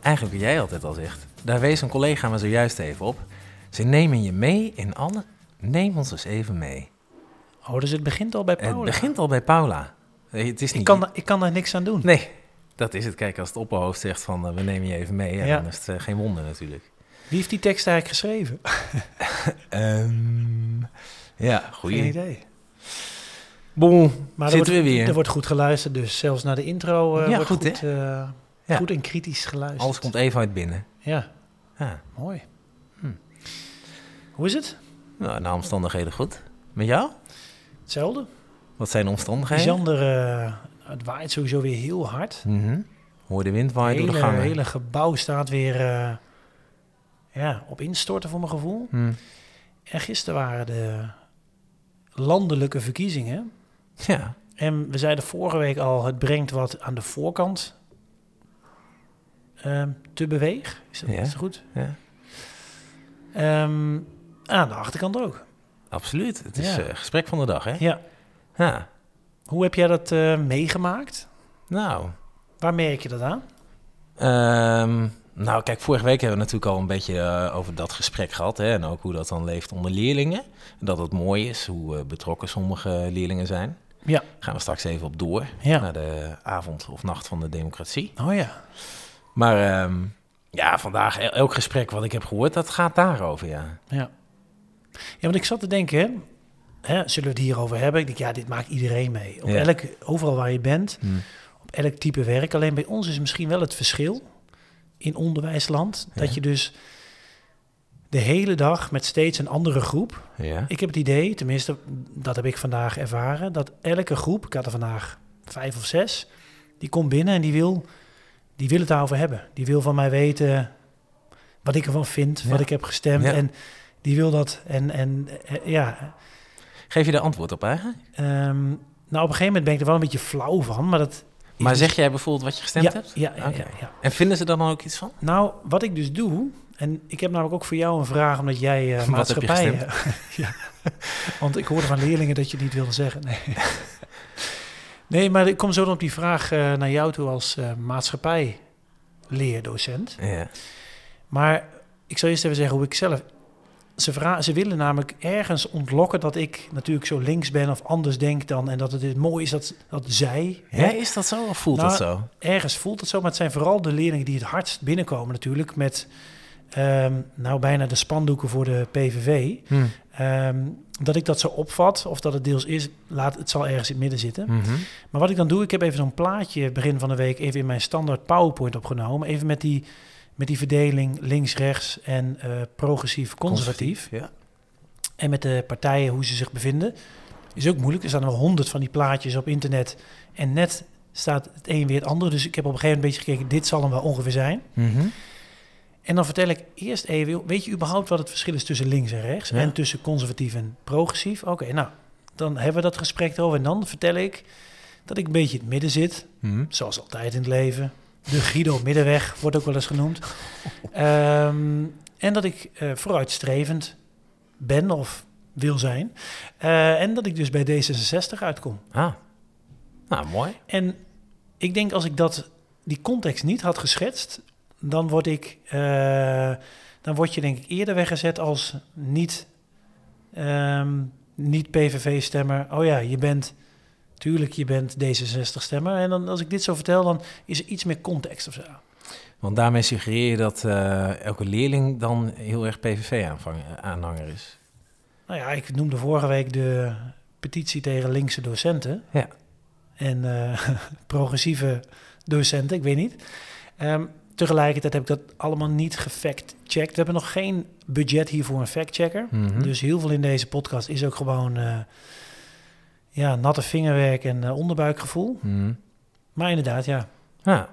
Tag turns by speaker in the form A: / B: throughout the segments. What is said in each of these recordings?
A: eigenlijk wat jij altijd al zegt, daar wees een collega me zojuist even op. Ze nemen je mee in alle... Neem ons eens even mee.
B: oh, dus het begint al bij Paula.
A: Het begint al bij Paula. Nee, Het is niet...
B: ik, kan, da- ik kan daar niks aan doen.
A: Nee, dat is het. Kijk, als het opperhoofd zegt van eh, we nemen je even mee, ja,
B: Ja.
A: dan is het eh, geen wonder natuurlijk.
B: Wie heeft die tekst eigenlijk geschreven?
A: ja,
B: Ehm, Geen
A: goeie.
B: idee.
A: Boem,
B: Maar er
A: zitten
B: wordt,
A: we weer.
B: Er wordt goed geluisterd, dus zelfs naar de intro eh
A: Ja,
B: wordt
A: goed,
B: goed,
A: hè?
B: eh,
A: Ja.
B: goed en kritisch geluisterd.
A: Dus Alles komt even uit binnen.
B: Ja,
A: Ja.
B: mooi. Hm. Hoe is het?
A: Nou, naar omstandigheden goed. Met jou?
B: Hetzelfde.
A: Wat zijn de omstandigheden?
B: Zander, eh, het waait sowieso weer heel hard.
A: Mhm. Hoor de wind waaien
B: Het
A: door de
B: hele,
A: gangen.
B: hele gebouw staat weer eh, ja, op instorten voor mijn gevoel.
A: Hm.
B: En gisteren waren de landelijke verkiezingen.
A: Ja,
B: En we zeiden vorige week al, het brengt wat aan de voorkant ehm, te beweeg. Is dat,
A: Ja.
B: is dat goed?
A: ja.
B: Ehm, aan de achterkant ook.
A: Absoluut. Het is
B: Ja.
A: eh, gesprek van de dag, hè?
B: Ja.
A: Ja.
B: Hoe heb jij dat eh, meegemaakt?
A: Nou,
B: Waar merk je dat aan?
A: ehm, nou kijk, vorige week hebben we natuurlijk al een beetje eh, over dat gesprek gehad. Hè, en ook hoe dat dan leeft onder leerlingen. En dat het mooi is hoe eh, betrokken sommige leerlingen zijn.
B: Ja.
A: Gaan we straks even op door
B: Ja.
A: naar de avond of nacht van de democratie.
B: Oh ja.
A: Maar ehm, ja, vandaag el- elk gesprek wat ik heb gehoord, dat gaat daarover, ja.
B: Ja, ja want ik zat te denken, hè, hè, zullen we het hierover hebben? Ik denk, ja, dit maakt iedereen mee. Op
A: Ja.
B: elk, overal waar je bent, op elk type werk. Alleen bij ons is misschien wel het verschil in onderwijsland... dat je dus de hele dag met steeds een andere groep...
A: Ja.
B: Ik heb het idee, tenminste, dat heb ik vandaag ervaren, dat elke groep, ik had er vandaag vijf of zes, die komt binnen en die wil, die wil het daarover hebben. Die wil van mij weten wat ik ervan vind, wat
A: Ja.
B: ik heb gestemd.
A: Ja.
B: En die wil dat. En, en eh, ja,
A: Geef je daar antwoord op eigenlijk?
B: ehm, nou op een gegeven moment ben ik er wel een beetje flauw van, maar dat...
A: Maar zeg jij bijvoorbeeld wat je gestemd
B: ja,
A: hebt?
B: Ja, ja,
A: Oké.
B: ja, ja.
A: En vinden ze daar dan ook iets van?
B: Nou, wat ik dus doe, en ik heb namelijk ook voor jou een vraag, omdat jij eh
A: heb je
B: maatschappij... ja, want ik hoorde van leerlingen dat je het niet wilde zeggen. Nee, nee maar ik kom zo dan op die vraag eh, naar jou toe als eh maatschappijleerdocent.
A: Ja.
B: Maar ik zal eerst even zeggen hoe ik zelf... Ze, vra- ze willen namelijk ergens ontlokken dat ik natuurlijk zo links ben of anders denk dan... en dat het dus mooi is dat, dat zij... hè,
A: Ja, is dat zo of voelt dat
B: Nou,
A: zo?
B: ergens voelt het zo, maar het zijn vooral de leerlingen die het hardst binnenkomen natuurlijk met ehm, nou bijna de spandoeken voor de PVV. Ehm, dat ik dat zo opvat, of dat het deels is, laat, het zal ergens in het midden zitten.
A: Mhm.
B: Maar wat ik dan doe, ik heb even zo'n plaatje begin van de week even in mijn standaard PowerPoint opgenomen. Even met die, met die verdeling links-rechts en eh, progressief-conservatief.
A: Ja.
B: En met de partijen, hoe ze zich bevinden. Is ook moeilijk. Er staan wel honderd van die plaatjes op internet. En net staat het een weer het andere. Dus ik heb op een gegeven moment een beetje gekeken, dit zal hem wel ongeveer zijn.
A: Mhm.
B: En dan vertel ik eerst even, joh, weet je überhaupt wat het verschil is tussen links en rechts?
A: Ja.
B: En tussen conservatief en progressief? Oké, nou, dan hebben we dat gesprek erover. En dan vertel ik dat ik een beetje in het midden zit.
A: Mhm.
B: Zoals altijd in het leven. De Guido Middenweg wordt ook wel eens genoemd. Ehm, en dat ik eh, vooruitstrevend ben of wil zijn. Eh, en dat ik dus bij D66 uitkom.
A: Ah, nou mooi.
B: En ik denk als ik dat, die context niet had geschetst, dan word ik, eh, dan word je denk ik eerder weggezet als niet, ehm, niet PVV-stemmer. Oh ja, je bent, tuurlijk, je bent D66-stemmer. En dan, als ik dit zo vertel, dan is er iets meer context of zo.
A: Want daarmee suggereer je dat eh, elke leerling dan heel erg PVV-aanhanger is.
B: Nou ja, ik noemde vorige week de petitie tegen linkse docenten.
A: Ja.
B: En eh, progressieve docenten, ik weet niet. Ehm, tegelijkertijd heb ik dat allemaal niet gefact-checked. We hebben nog geen budget hiervoor een fact-checker.
A: Mhm.
B: Dus heel veel in deze podcast is ook gewoon eh, ja, natte vingerwerk en eh, onderbuikgevoel.
A: Mhm.
B: Maar inderdaad, ja.
A: Ja.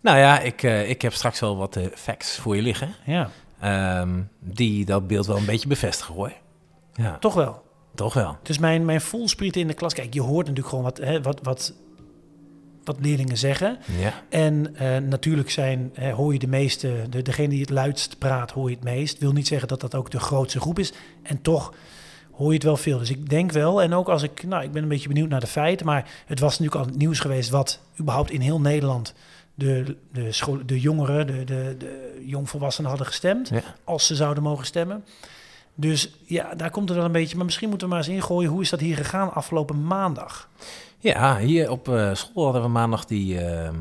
A: Nou ja, ik, eh, ik heb straks wel wat eh, facts voor je liggen.
B: Ja,
A: ehm, die dat beeld wel een beetje bevestigen hoor. Ja,
B: toch wel.
A: toch wel.
B: Dus mijn, mijn voelsprieten in de klas. Kijk, je hoort natuurlijk gewoon wat, hè, wat, wat, wat leerlingen zeggen.
A: Ja,
B: En eh, natuurlijk zijn, hè, hoor je de meeste, de, degene die het luidst praat, hoor je het meest. Wil niet zeggen dat dat ook de grootste groep is. En toch hoor je het wel veel. Dus ik denk wel, en ook als ik, nou, ik ben een beetje benieuwd naar de feiten, maar het was natuurlijk al het nieuws geweest wat überhaupt in heel Nederland de, de, school, de jongeren, de, de, de jongvolwassenen hadden gestemd,
A: Ja.
B: als ze zouden mogen stemmen. Dus ja, daar komt het wel een beetje. Maar misschien moeten we maar eens ingooien. Hoe is dat hier gegaan afgelopen maandag?
A: ja hier op eh, school hadden we maandag die ehm,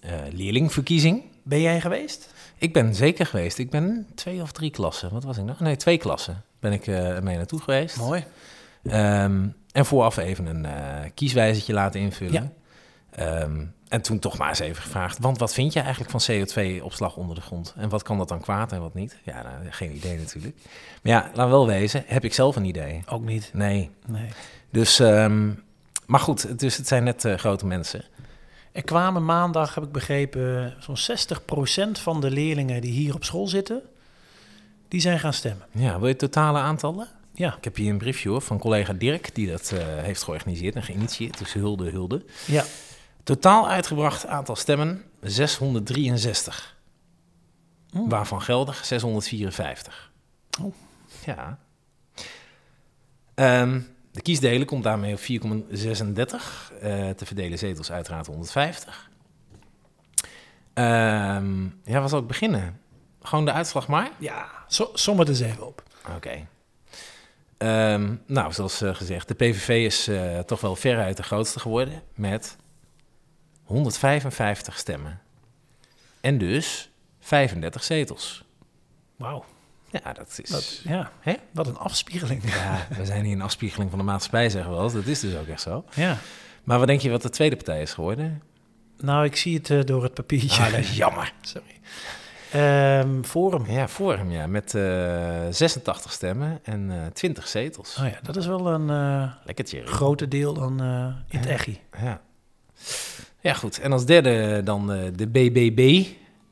A: eh, leerlingverkiezing.
B: Ben jij geweest?
A: Ik ben zeker geweest. Ik ben twee of drie klassen. Wat was ik nou? Nee, twee klassen ben ik eh mee naartoe geweest.
B: Mooi.
A: Ehm, en vooraf even een eh kieswijzertje laten invullen. Ehm, en toen toch maar eens even gevraagd. Want wat vind je eigenlijk van CO2-opslag onder de grond? En wat kan dat dan kwaad en wat niet? Ja, nou, geen idee natuurlijk. Maar ja, laat wel wezen, heb ik zelf een idee?
B: Ook niet.
A: Nee.
B: Nee.
A: Dus, ehm, maar goed, dus het zijn net eh, grote mensen.
B: Er kwamen maandag, heb ik begrepen, zo'n 60% van de leerlingen die hier op school zitten, die zijn gaan stemmen.
A: Ja, wil je totale aantallen?
B: Ja,
A: Ik heb hier een briefje hoor, van collega Dirk, die dat eh, heeft georganiseerd en geïnitieerd. Dus hulde, hulde.
B: ja.
A: Totaal uitgebracht aantal stemmen 663.
B: Oh.
A: Waarvan geldig 654.
B: Oh.
A: Ja. Ehm, de kiesdelen komt daarmee op 4,36. eh, te verdelen zetels uiteraard 150. Ehm, ja, waar zal ik beginnen? Gewoon de uitslag maar?
B: ja. Zo, som het eens even op.
A: Oké. Ehm, nou, zoals eh, gezegd, de PVV is eh, toch wel veruit de grootste geworden met 155 stemmen. En dus 35 zetels.
B: Wauw,
A: Ja, dat is...
B: dat, ja.
A: Hè?
B: wat een afspiegeling.
A: Ja, we zijn hier een afspiegeling van de maatschappij, zeggen we wel. eens. Dat is dus ook echt zo.
B: Ja.
A: Maar wat denk je wat de tweede partij is geworden?
B: Nou, ik zie het eh, door het papiertje.
A: Ah, dat is jammer.
B: Sorry. Ehm, forum.
A: Ja, Forum, ja. Met eh, 86 stemmen en eh 20 zetels.
B: Oh ja, dat is wel een eh
A: Lekker cherry.
B: groter deel dan eh, in het echi.
A: Ja. ja, goed. En als derde eh, dan eh, de BBB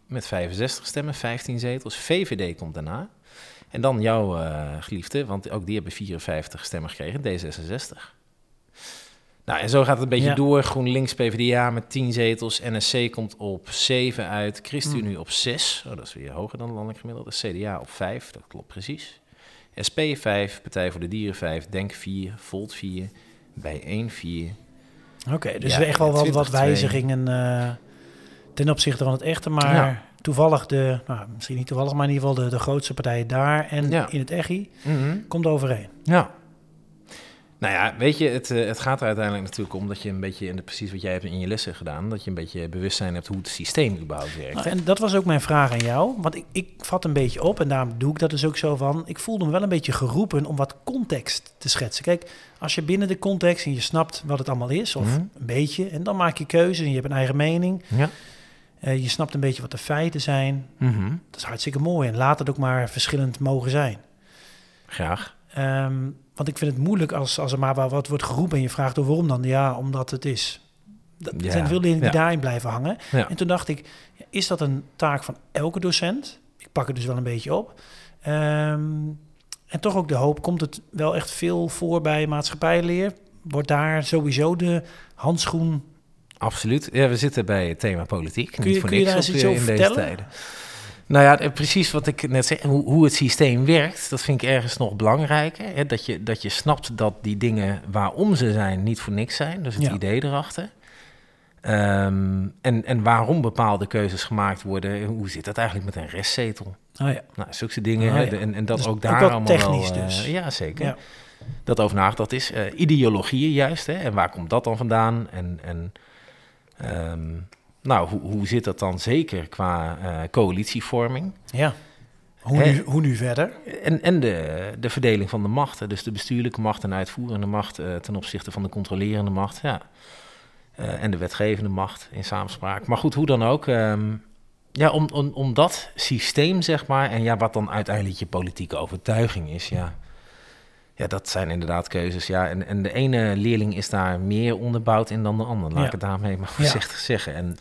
A: met 65 stemmen, 15 zetels. VVD komt daarna. En dan jouw eh, geliefde, want ook die hebben 54 stemmen gekregen, D66. Nou, en zo gaat het een beetje
B: Ja.
A: door. GroenLinks, PvdA met 10 zetels. NSC komt op 7 uit. ChristenUnie op 6. Oh, dat is weer hoger dan landelijk gemiddelde. CDA op 5, dat klopt precies. SP 5, Partij voor de Dieren 5, Denk 4, Volt 4, Bijeen 4,
B: Oké, dus
A: Ja,
B: we echt wel wat, wat
A: 20-2.
B: wijzigingen eh, ten opzichte van het echte. Maar
A: Ja.
B: toevallig de, nou, misschien niet toevallig, maar in ieder geval de, de grootste partij daar en
A: Ja.
B: in het echi komt overeen.
A: Ja. Nou ja, weet je, het, eh, het gaat er uiteindelijk natuurlijk om dat je een beetje, en dat precies wat jij hebt in je lessen gedaan, dat je een beetje bewustzijn hebt hoe het systeem überhaupt werkt.
B: Nou, en dat was ook mijn vraag aan jou, want ik, ik vat een beetje op en daarom doe ik dat dus ook zo van. Ik voelde me wel een beetje geroepen om wat context te schetsen. Kijk, als je binnen de context en je snapt wat het allemaal is, of
A: Mhm.
B: een beetje, en dan maak je keuzes en je hebt een eigen mening.
A: Ja.
B: eh, je snapt een beetje wat de feiten zijn.
A: Mhm.
B: Dat is hartstikke mooi en laat het ook maar verschillend mogen zijn.
A: Graag.
B: Ehm, want ik vind het moeilijk als, als er maar wel wat wordt geroepen en je vraagt oh, waarom dan? Ja, omdat het is. Dat er
A: Ja,
B: zijn veel dingen die
A: ja.
B: daarin blijven hangen.
A: Ja.
B: En toen dacht ik, ja, is dat een taak van elke docent? Ik pak het dus wel een beetje op. Ehm, en toch ook de hoop, komt het wel echt veel voor bij maatschappijleer? Wordt daar sowieso de handschoen...
A: Absoluut. Ja, we zitten bij het thema politiek.
B: Kun
A: Niet
B: je-
A: voor
B: kun je
A: niks
B: daar eens
A: op, eh,
B: iets over
A: in deze
B: vertellen?
A: tijden. Nou ja, eh, precies wat ik net zei, hoe, hoe het systeem werkt, dat vind ik ergens nog belangrijker. Hè? Dat, je, dat je snapt dat die dingen waarom ze zijn niet voor niks zijn, dus het
B: Ja.
A: idee erachter. Ehm, en, en waarom bepaalde keuzes gemaakt worden, hoe zit dat eigenlijk met een restzetel?
B: Oh ja.
A: Nou, zulke dingen.
B: Ah,
A: hè,
B: ja.
A: de- en, en dat
B: Dus
A: ook
B: ook
A: daar
B: wel
A: allemaal
B: technisch
A: wel, eh,
B: dus.
A: ja, zeker.
B: Ja.
A: Dat over nagedacht is. eh, ideologieën juist. Hè, en waar komt dat dan vandaan? En, en ehm, nou, hoe, hoe zit dat dan zeker qua eh, coalitievorming?
B: ja. Hoe,
A: Hè?
B: nu, hoe nu verder?
A: En, en de, de verdeling van de macht. hè, Dus de bestuurlijke macht en uitvoerende macht eh, ten opzichte van de controlerende macht. Ja. Eh, en de wetgevende macht in samenspraak. Maar goed, hoe dan ook. ehm, ja, om, om, om dat systeem, zeg maar. En ja, wat dan uiteindelijk je politieke overtuiging is. Ja, ja dat zijn inderdaad keuzes. Ja. En, en de ene leerling is daar meer onderbouwd in dan de ander. Laat
B: Ja.
A: ik het daarmee maar
B: Ja.
A: voorzichtig zeggen. En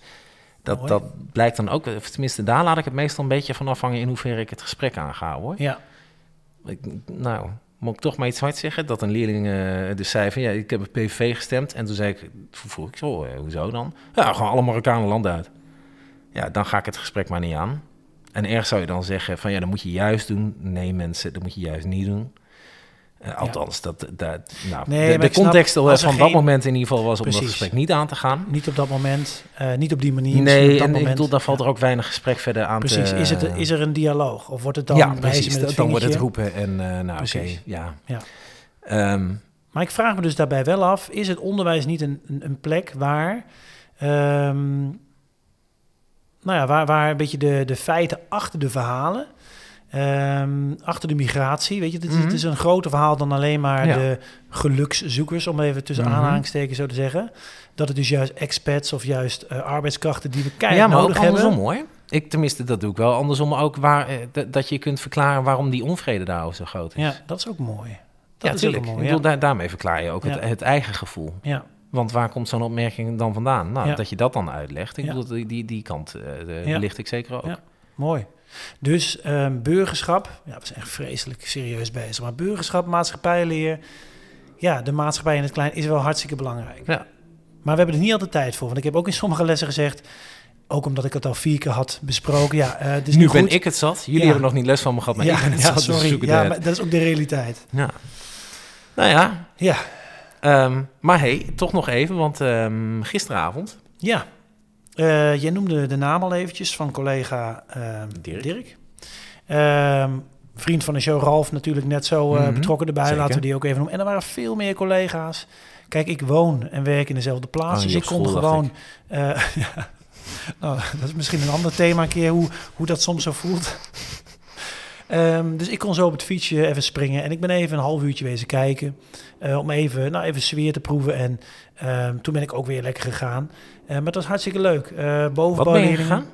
A: Dat,
B: Mooi.
A: dat blijkt dan ook, of tenminste daar laat ik het meestal een beetje van afhangen in hoeverre ik het gesprek aanga hoor.
B: Ja,
A: Ik, nou, moet ik toch maar iets hard zeggen? Dat een leerling eh, dus zei van, ja, ik heb een PVV gestemd. En toen zei ik, toen vroeg ik, zo, eh, hoezo dan? Ja, gewoon alle Marokkanen land uit. Ja, dan ga ik het gesprek maar niet aan. En erg zou je dan zeggen van, ja, dat moet je juist doen. Nee mensen, dat moet je juist niet doen. Eh, althans, dat, dat, nou,
B: Nee,
A: de,
B: maar
A: de
B: ik snap,
A: context eh,
B: als er
A: van dat
B: geen-
A: moment in ieder geval was om dat
B: Precies.
A: gesprek niet aan te gaan.
B: niet op dat moment, eh, niet op die manier. misschien
A: nee,
B: op dat
A: en
B: moment.
A: ik bedoel, daar valt
B: Ja,
A: er ook weinig gesprek verder aan te-
B: Precies, is, het, is er een dialoog? Of wordt het dan
A: eh, ja,
B: wijzen
A: precies.
B: met het
A: dan wordt het
B: vingertje?
A: roepen en eh, nou, oké,
B: Precies.
A: ja.
B: Ja.
A: Ehm,
B: Maar ik vraag me dus daarbij wel af, is het onderwijs niet een, een, een plek waar, ehm, nou ja, waar, waar een beetje de, de feiten achter de verhalen, ehm, achter de migratie, weet je, het is, het is een groter verhaal dan alleen maar
A: Mhm. Ja.
B: de gelukszoekers, om even tussen
A: Mhm.
B: aanhalingstekens zo te zeggen. Dat het dus juist expats of juist eh, arbeidskrachten die we keihard
A: ja, maar ook
B: nodig hebben.
A: andersom hoor. Ik, tenminste, dat doe ik wel. Andersom ook waar, eh, dat- dat je kunt verklaren waarom die onvrede daarover zo groot is.
B: Ja, dat is ook mooi. Dat
A: Ja,
B: is
A: tuurlijk.
B: ook
A: Ik
B: mooi.
A: bedoel,
B: ja.
A: daar- daarmee verklaar je ook het,
B: Ja.
A: het eigen gevoel.
B: Ja.
A: Want waar komt zo'n opmerking dan vandaan? Nou,
B: Ja.
A: dat je dat dan uitlegt. Ik
B: Ja.
A: bedoel, die, die, die kant eh de-
B: Ja.
A: licht ik zeker ook.
B: Ja. Mooi. Dus ehm, burgerschap, ja, we zijn echt vreselijk serieus bezig. Maar burgerschap, maatschappijleer, ja, de maatschappij in het klein is wel hartstikke belangrijk.
A: Ja.
B: Maar we hebben er niet altijd tijd voor. Want ik heb ook in sommige lessen gezegd, ook omdat ik het al vier keer had besproken, ja, eh, het is
A: nu
B: niet
A: ben
B: goed.
A: ik het zat. Jullie
B: Ja.
A: hebben nog niet les van me gehad, maar
B: ja,
A: ik ben het
B: ja,
A: zat. dus we
B: sorry.
A: zoeken
B: Ja,
A: de-
B: maar dat is ook de realiteit.
A: ja. Nou ja,
B: Ja,
A: ehm, maar hey, toch nog even. Want ehm, gisteravond,
B: ja. Eh, jij noemde de naam al eventjes van collega ehm,
A: Dirk.
B: Dirk. Ehm, vriend van de show, Ralf natuurlijk net zo eh,
A: Mhm,
B: betrokken erbij.
A: zeker.
B: Laten we die ook even noemen. En er waren veel meer collega's. Kijk, ik woon en werk in dezelfde plaats.
A: Oh,
B: dus
A: je
B: ik
A: op
B: kon
A: school, dacht
B: gewoon... eh, ja. Nou, dat is misschien een ander thema een keer, hoe, hoe dat soms zo voelt. Ehm, dus ik kon zo op het fietsje even springen. En ik ben even een half uurtje wezen kijken. eh, om even, nou, even sfeer te proeven. En ehm, toen ben ik ook weer lekker gegaan. Eh, maar het was hartstikke leuk. Eh
A: wat ben je
B: bovenbouwleerlingen-
A: gegaan?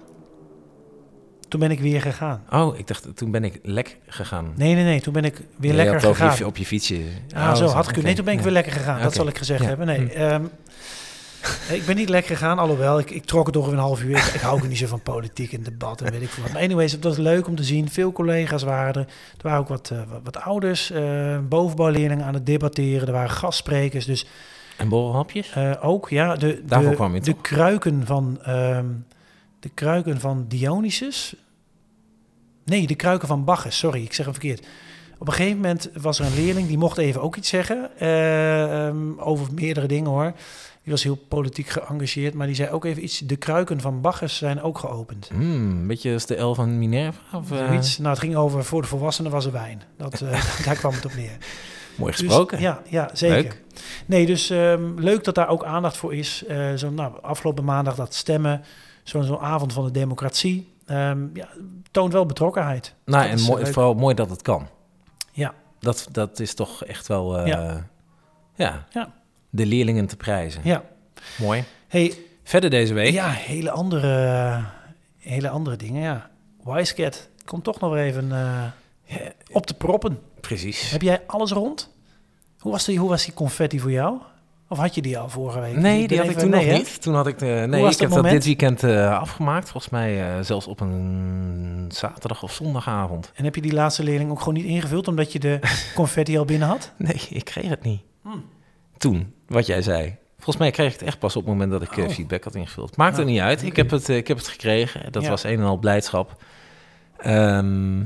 B: Toen ben ik weer gegaan.
A: Oh, ik dacht, toen ben ik lek gegaan.
B: Nee, nee, nee. Toen ben ik weer
A: Ja, je
B: lekker
A: had over je
B: gegaan.
A: fi- Op je fietsje.
B: Ah,
A: Oh,
B: zo had ik.
A: oké.
B: Nee, toen ben ik
A: Ja.
B: weer lekker gegaan. Dat
A: Oké.
B: zal ik gezegd
A: Ja. Hm.
B: hebben. Nee, ehm, ik ben niet lekker gegaan, alhoewel ik, ik trok het ongeveer een half uur. Ik, ik hou ook niet zo van politiek en debat en weet ik veel wat. Maar anyways, het was leuk om te zien. Veel collega's waren er. Er waren ook wat, eh, wat, wat ouders, eh bovenbouwleerlingen aan het debatteren. Er waren gastsprekers. Dus
A: En borrelhapjes?
B: eh, ook, ja, de,
A: Daarvoor
B: de,
A: kwam je
B: de
A: toch?
B: kruiken van ehm, de kruiken van Dionysus. Nee, de kruiken van Bacchus. Sorry, ik zeg hem verkeerd. Op een gegeven moment was er een leerling die mocht even ook iets zeggen eh, ehm, over meerdere dingen hoor. Die was heel politiek geëngageerd, maar die zei ook even iets. De kruiken van Bacchus zijn ook geopend.
A: Hmm, een beetje als de L van Minerva? Of, eh,
B: Zoiets. Nou, het ging over voor de volwassenen was er wijn. Dat, eh, daar kwam het op neer.
A: Mooi
B: Dus,
A: gesproken.
B: ja, ja, zeker.
A: Leuk.
B: Nee, dus ehm, leuk dat daar ook aandacht voor is. Eh, zo, nou, afgelopen maandag dat stemmen, zo'n zo'n avond van de democratie, ehm, ja, toont wel betrokkenheid.
A: nou,
B: dat
A: en
B: is eh,
A: mooi,
B: leuk.
A: vooral mooi dat het kan.
B: Ja.
A: Dat, dat is toch echt wel... eh, ja.
B: Ja. Ja.
A: De leerlingen te prijzen.
B: Ja.
A: Mooi.
B: Hey,
A: Verder deze week.
B: ja, hele andere, hele andere dingen, ja. Wisecat, kom toch nog weer even eh,
A: Ja,
B: op de proppen.
A: Precies.
B: Heb jij alles rond? Hoe was, die, hoe was die confetti voor jou? Of had je die al vorige week?
A: Nee, die
B: Ik ben
A: had ik
B: even-
A: toen
B: nee,
A: nog
B: hè?
A: niet. Toen had ik, eh, nee,
B: was
A: ik
B: dat
A: heb dat
B: moment?
A: dit weekend eh, afgemaakt. Volgens mij eh, zelfs op een zaterdag of zondagavond.
B: En heb je die laatste leerling ook gewoon niet ingevuld omdat je de confetti al binnen had?
A: Nee, ik kreeg het niet.
B: Hmm.
A: Toen, wat jij zei. Volgens mij kreeg ik het echt pas op het moment dat ik eh,
B: Oh.
A: feedback had ingevuld. Maakt er
B: Nou,
A: niet uit. Ik, heb het, eh, ik heb het gekregen. Dat
B: Ja.
A: was een en al blijdschap. Ehm,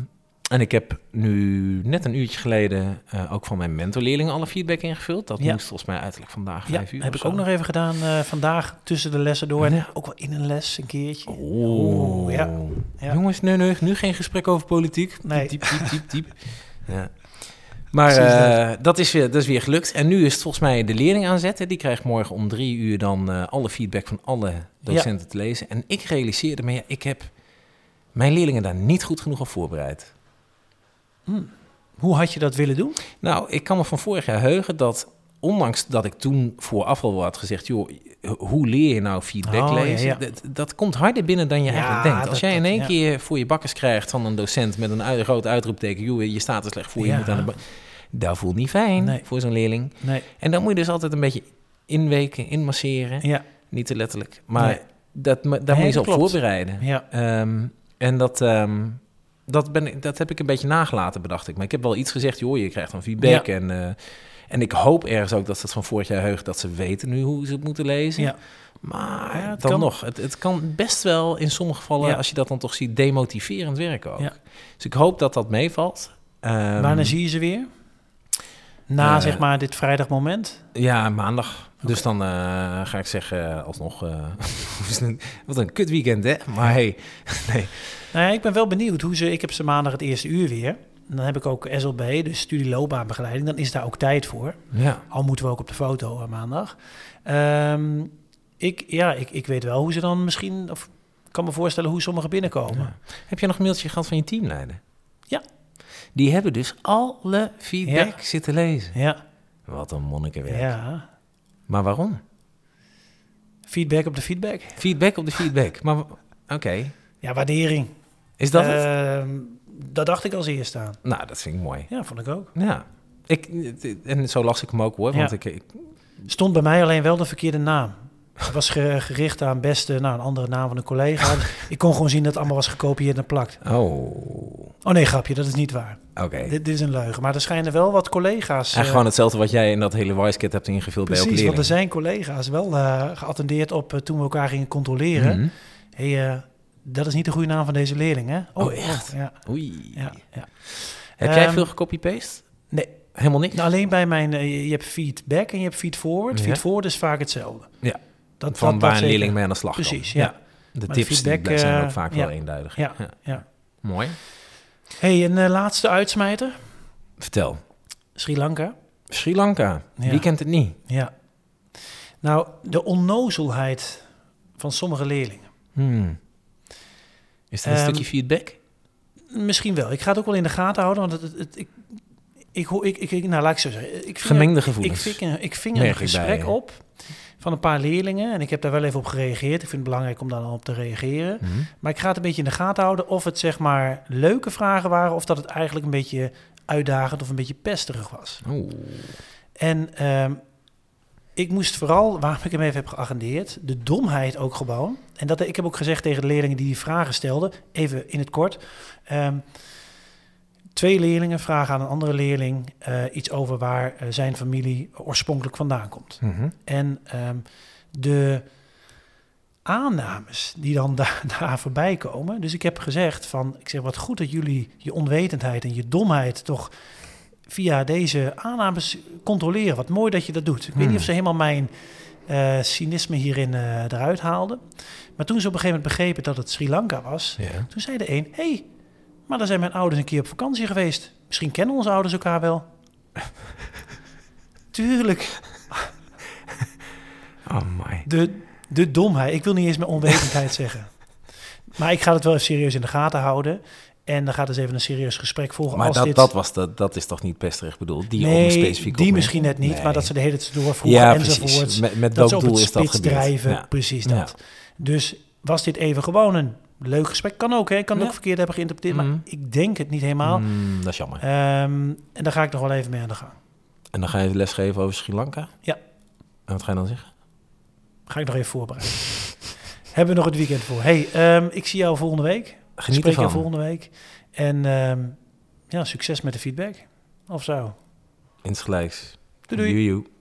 A: en ik heb nu net een uurtje geleden eh, ook van mijn mentorleerlingen alle feedback ingevuld. Dat
B: Ja.
A: moest volgens mij uiterlijk vandaag
B: Ja,
A: vijf uur.
B: heb
A: of
B: ik
A: zo.
B: ook nog even gedaan eh, vandaag tussen de lessen
A: Ja.
B: door.
A: Oh,
B: En ook wel in een les een keertje.
A: Oeh.
B: Oeh, ja. Ja.
A: Jongens, nee, nee, nu geen gesprek over politiek.
B: Nee.
A: Diep, diep, diep, diep. diep. Ja. Maar
B: Precies
A: eh, dat, is weer, dat is weer gelukt. En nu is het volgens mij de leerling aanzetten. Die krijgt morgen om drie uur dan eh, alle feedback van alle docenten te lezen. En ik realiseerde me, ja, ik heb mijn leerlingen daar niet goed genoeg op voorbereid.
B: Hoe had je dat willen doen?
A: Nou, ik kan me van vorig jaar heugen dat, ondanks dat ik toen vooraf al had gezegd, joh, hoe leer je nou feedback
B: Oh, ja,
A: lezen?
B: ja.
A: Dat, dat komt harder binnen dan je
B: Ja,
A: eigenlijk denkt. Als
B: dat-
A: jij in
B: dat-
A: één
B: ja.
A: keer voor je bakkers krijgt van een docent met een uit, groot uitroepteken, joh, je staat er slecht voor, je
B: Ja.
A: moet aan de bak. Dat voelt niet fijn
B: Nee.
A: voor zo'n leerling.
B: Nee.
A: En dan moet je dus altijd een beetje inweken, inmasseren.
B: Ja,
A: Niet te letterlijk, maar
B: Nee.
A: dat, me- daar
B: Nee,
A: moet je
B: dat
A: ze op
B: klopt.
A: voorbereiden.
B: Ja,
A: Ehm, en dat, ehm, dat, ben, ik- dat heb ik een beetje nagelaten, bedacht ik. Maar ik heb wel iets gezegd, joh, je krijgt dan feedback. En, eh, en ik hoop ergens ook dat ze het van vorig jaar heugt, dat ze weten nu hoe ze het moeten lezen.
B: ja.
A: Maar
B: Ja, het
A: dan
B: kan.
A: nog, het, het kan best wel in sommige gevallen,
B: Ja.
A: als je dat dan toch ziet, demotiverend werken ook.
B: Ja.
A: Dus ik hoop dat dat meevalt. Ehm,
B: Wanneer zie je ze weer? Na
A: eh,
B: zeg maar dit vrijdagmoment?
A: Ja, maandag. Dus dan eh, ga ik zeggen, alsnog, eh, wat een kut weekend, hè? Maar hey, nee.
B: Nou ja, ik ben wel benieuwd hoe ze. Ik heb ze maandag het eerste uur weer. En dan heb ik ook SLB, dus studie loopbaanbegeleiding. Dan is daar ook tijd voor.
A: Ja.
B: Al moeten we ook op de foto eh, maandag. Ehm, ik, ja, ik, ik weet wel hoe ze dan misschien. Of ik kan me voorstellen hoe sommigen binnenkomen.
A: Ja. Heb je nog een mailtje gehad van je teamleider?
B: Ja.
A: Die hebben dus alle feedback zitten lezen.
B: Ja,
A: Wat een monnikenwerk.
B: ja.
A: Maar waarom?
B: Feedback op de feedback.
A: Feedback op de feedback. Maar w- oké,
B: Ja, waardering.
A: is dat het?
B: Ehm, dat dacht ik als eerste aan.
A: Nou, dat vind ik mooi.
B: Ja, vond ik ook.
A: Ja. Ik, en zo las ik hem ook hoor, want
B: Ja.
A: ik, ik...
B: Stond bij mij alleen wel de verkeerde naam. Het was ge- gericht aan beste, nou, een andere naam van een collega. ik kon gewoon zien dat het allemaal was gekopieerd en plakt.
A: Oh, oké.
B: Oh nee, grapje, dat is niet waar. Dit, dit is een leugen. Maar er schijnen wel wat collega's...
A: Eigenlijk
B: eh,
A: gewoon hetzelfde wat jij in dat hele WiseCat hebt ingevuld bij
B: precies,
A: elke
B: want er
A: leerling.
B: zijn collega's wel eh, geattendeerd op eh, toen we elkaar gingen controleren.
A: Mhm.
B: hey, eh, dat is niet de goede naam van deze leerling, hè?
A: Oh, echt?
B: Ja,
A: Oei.
B: ja, ja.
A: Heb jij
B: Ehm,
A: veel gecopy-paste?
B: Nee,
A: Helemaal niks?
B: nou, alleen bij mijn... eh, je hebt feedback en je hebt feedforward.
A: Ja.
B: Feedforward is vaak hetzelfde.
A: Ja.
B: Dat,
A: van waar
B: dat- dat
A: een
B: zeker.
A: leerling mee aan de slag kan.
B: Precies, ja.
A: De
B: Maar de
A: tips
B: feedback,
A: die zijn ook
B: eh,
A: vaak
B: ja.
A: wel eenduidig.
B: Ja, ja.
A: Mooi.
B: hey, een eh, laatste uitsmijter.
A: Vertel.
B: Sri Lanka.
A: Sri Lanka.
B: Ja.
A: Wie kent het niet?
B: Ja. Nou, de onnozelheid van sommige leerlingen.
A: Hmm. Is dat een
B: Ehm,
A: stukje feedback?
B: Misschien wel. Ik ga het ook wel in de gaten houden, want het, het, het- ik, ik hoor... Ik, ik, ik- nou, laat ik zo zeggen. Ik vinger,
A: Gemengde
B: ik
A: gevoelens.
B: vinger, ik
A: Merk
B: vinger
A: ik
B: een
A: bij
B: gesprek
A: je.
B: op van een paar leerlingen. En ik heb daar wel even op gereageerd. Ik vind het belangrijk om daar dan op te reageren.
A: Mhm.
B: Maar ik ga het een beetje in de gaten houden of het zeg maar leuke vragen waren... of dat het eigenlijk een beetje uitdagend of een beetje pesterig was.
A: Oeh.
B: En ehm, ik moest vooral, waarom ik hem even heb geagendeerd, de domheid ook gewoon. En dat, ik heb ook gezegd tegen de leerlingen die die vragen stelden, even in het kort. ehm, twee leerlingen vragen aan een andere leerling eh, iets over waar eh, zijn familie oorspronkelijk vandaan komt.
A: Mhm.
B: En ehm, de aannames die dan da- daar voorbij komen. Dus ik heb gezegd van, ik zeg wat goed dat jullie je onwetendheid en je domheid toch via deze aannames controleren. Wat mooi dat je dat doet. Ik weet
A: Hmm.
B: niet of ze helemaal mijn eh, cynisme hierin eh, eruit haalden. Maar toen ze op een gegeven moment begrepen dat het Sri Lanka was,
A: Ja.
B: toen zei de een, hé, hey, maar daar zijn mijn ouders een keer op vakantie geweest. Misschien kennen onze ouders elkaar wel. Tuurlijk,
A: Oh my.
B: de, de domheid. Ik wil niet eens meer onwetendheid zeggen. Maar ik ga het wel even serieus in de gaten houden. En dan gaat dus even een serieus gesprek volgen.
A: Maar
B: als
A: dat,
B: dit...
A: dat, was de, dat is toch niet pesterig bedoeld? Die op
B: nee,
A: een specifieke
B: die
A: opmerking?
B: misschien net niet.
A: Nee.
B: Maar dat ze de hele tijd doorvroegen
A: Ja,
B: enzovoorts.
A: precies. Met, met
B: dat ze
A: welk
B: op
A: doel
B: het
A: is dat
B: spits
A: gebeurd?
B: drijven.
A: Ja.
B: Precies
A: Ja.
B: dat. Dus was dit even gewoon een leuk gesprek? Kan ook, hè? Ik kan het
A: Ja.
B: ook verkeerd hebben geïnterpreteerd.
A: Mhm.
B: Maar ik denk het niet helemaal.
A: Hmm, dat is jammer.
B: Ehm, en daar ga ik nog wel even mee aan de gang.
A: En dan ga je lesgeven over Sri Lanka?
B: Ja.
A: En wat ga je dan zeggen?
B: Ga ik nog even voorbereiden. Hebben we nog het weekend voor. hey, ehm, ik zie jou volgende week.
A: Geniet
B: Spreek jou
A: ervan.
B: volgende week. En ehm, ja, succes met de feedback. Of zo.
A: Insgelijks.
B: Doei doei.
A: Joejoe.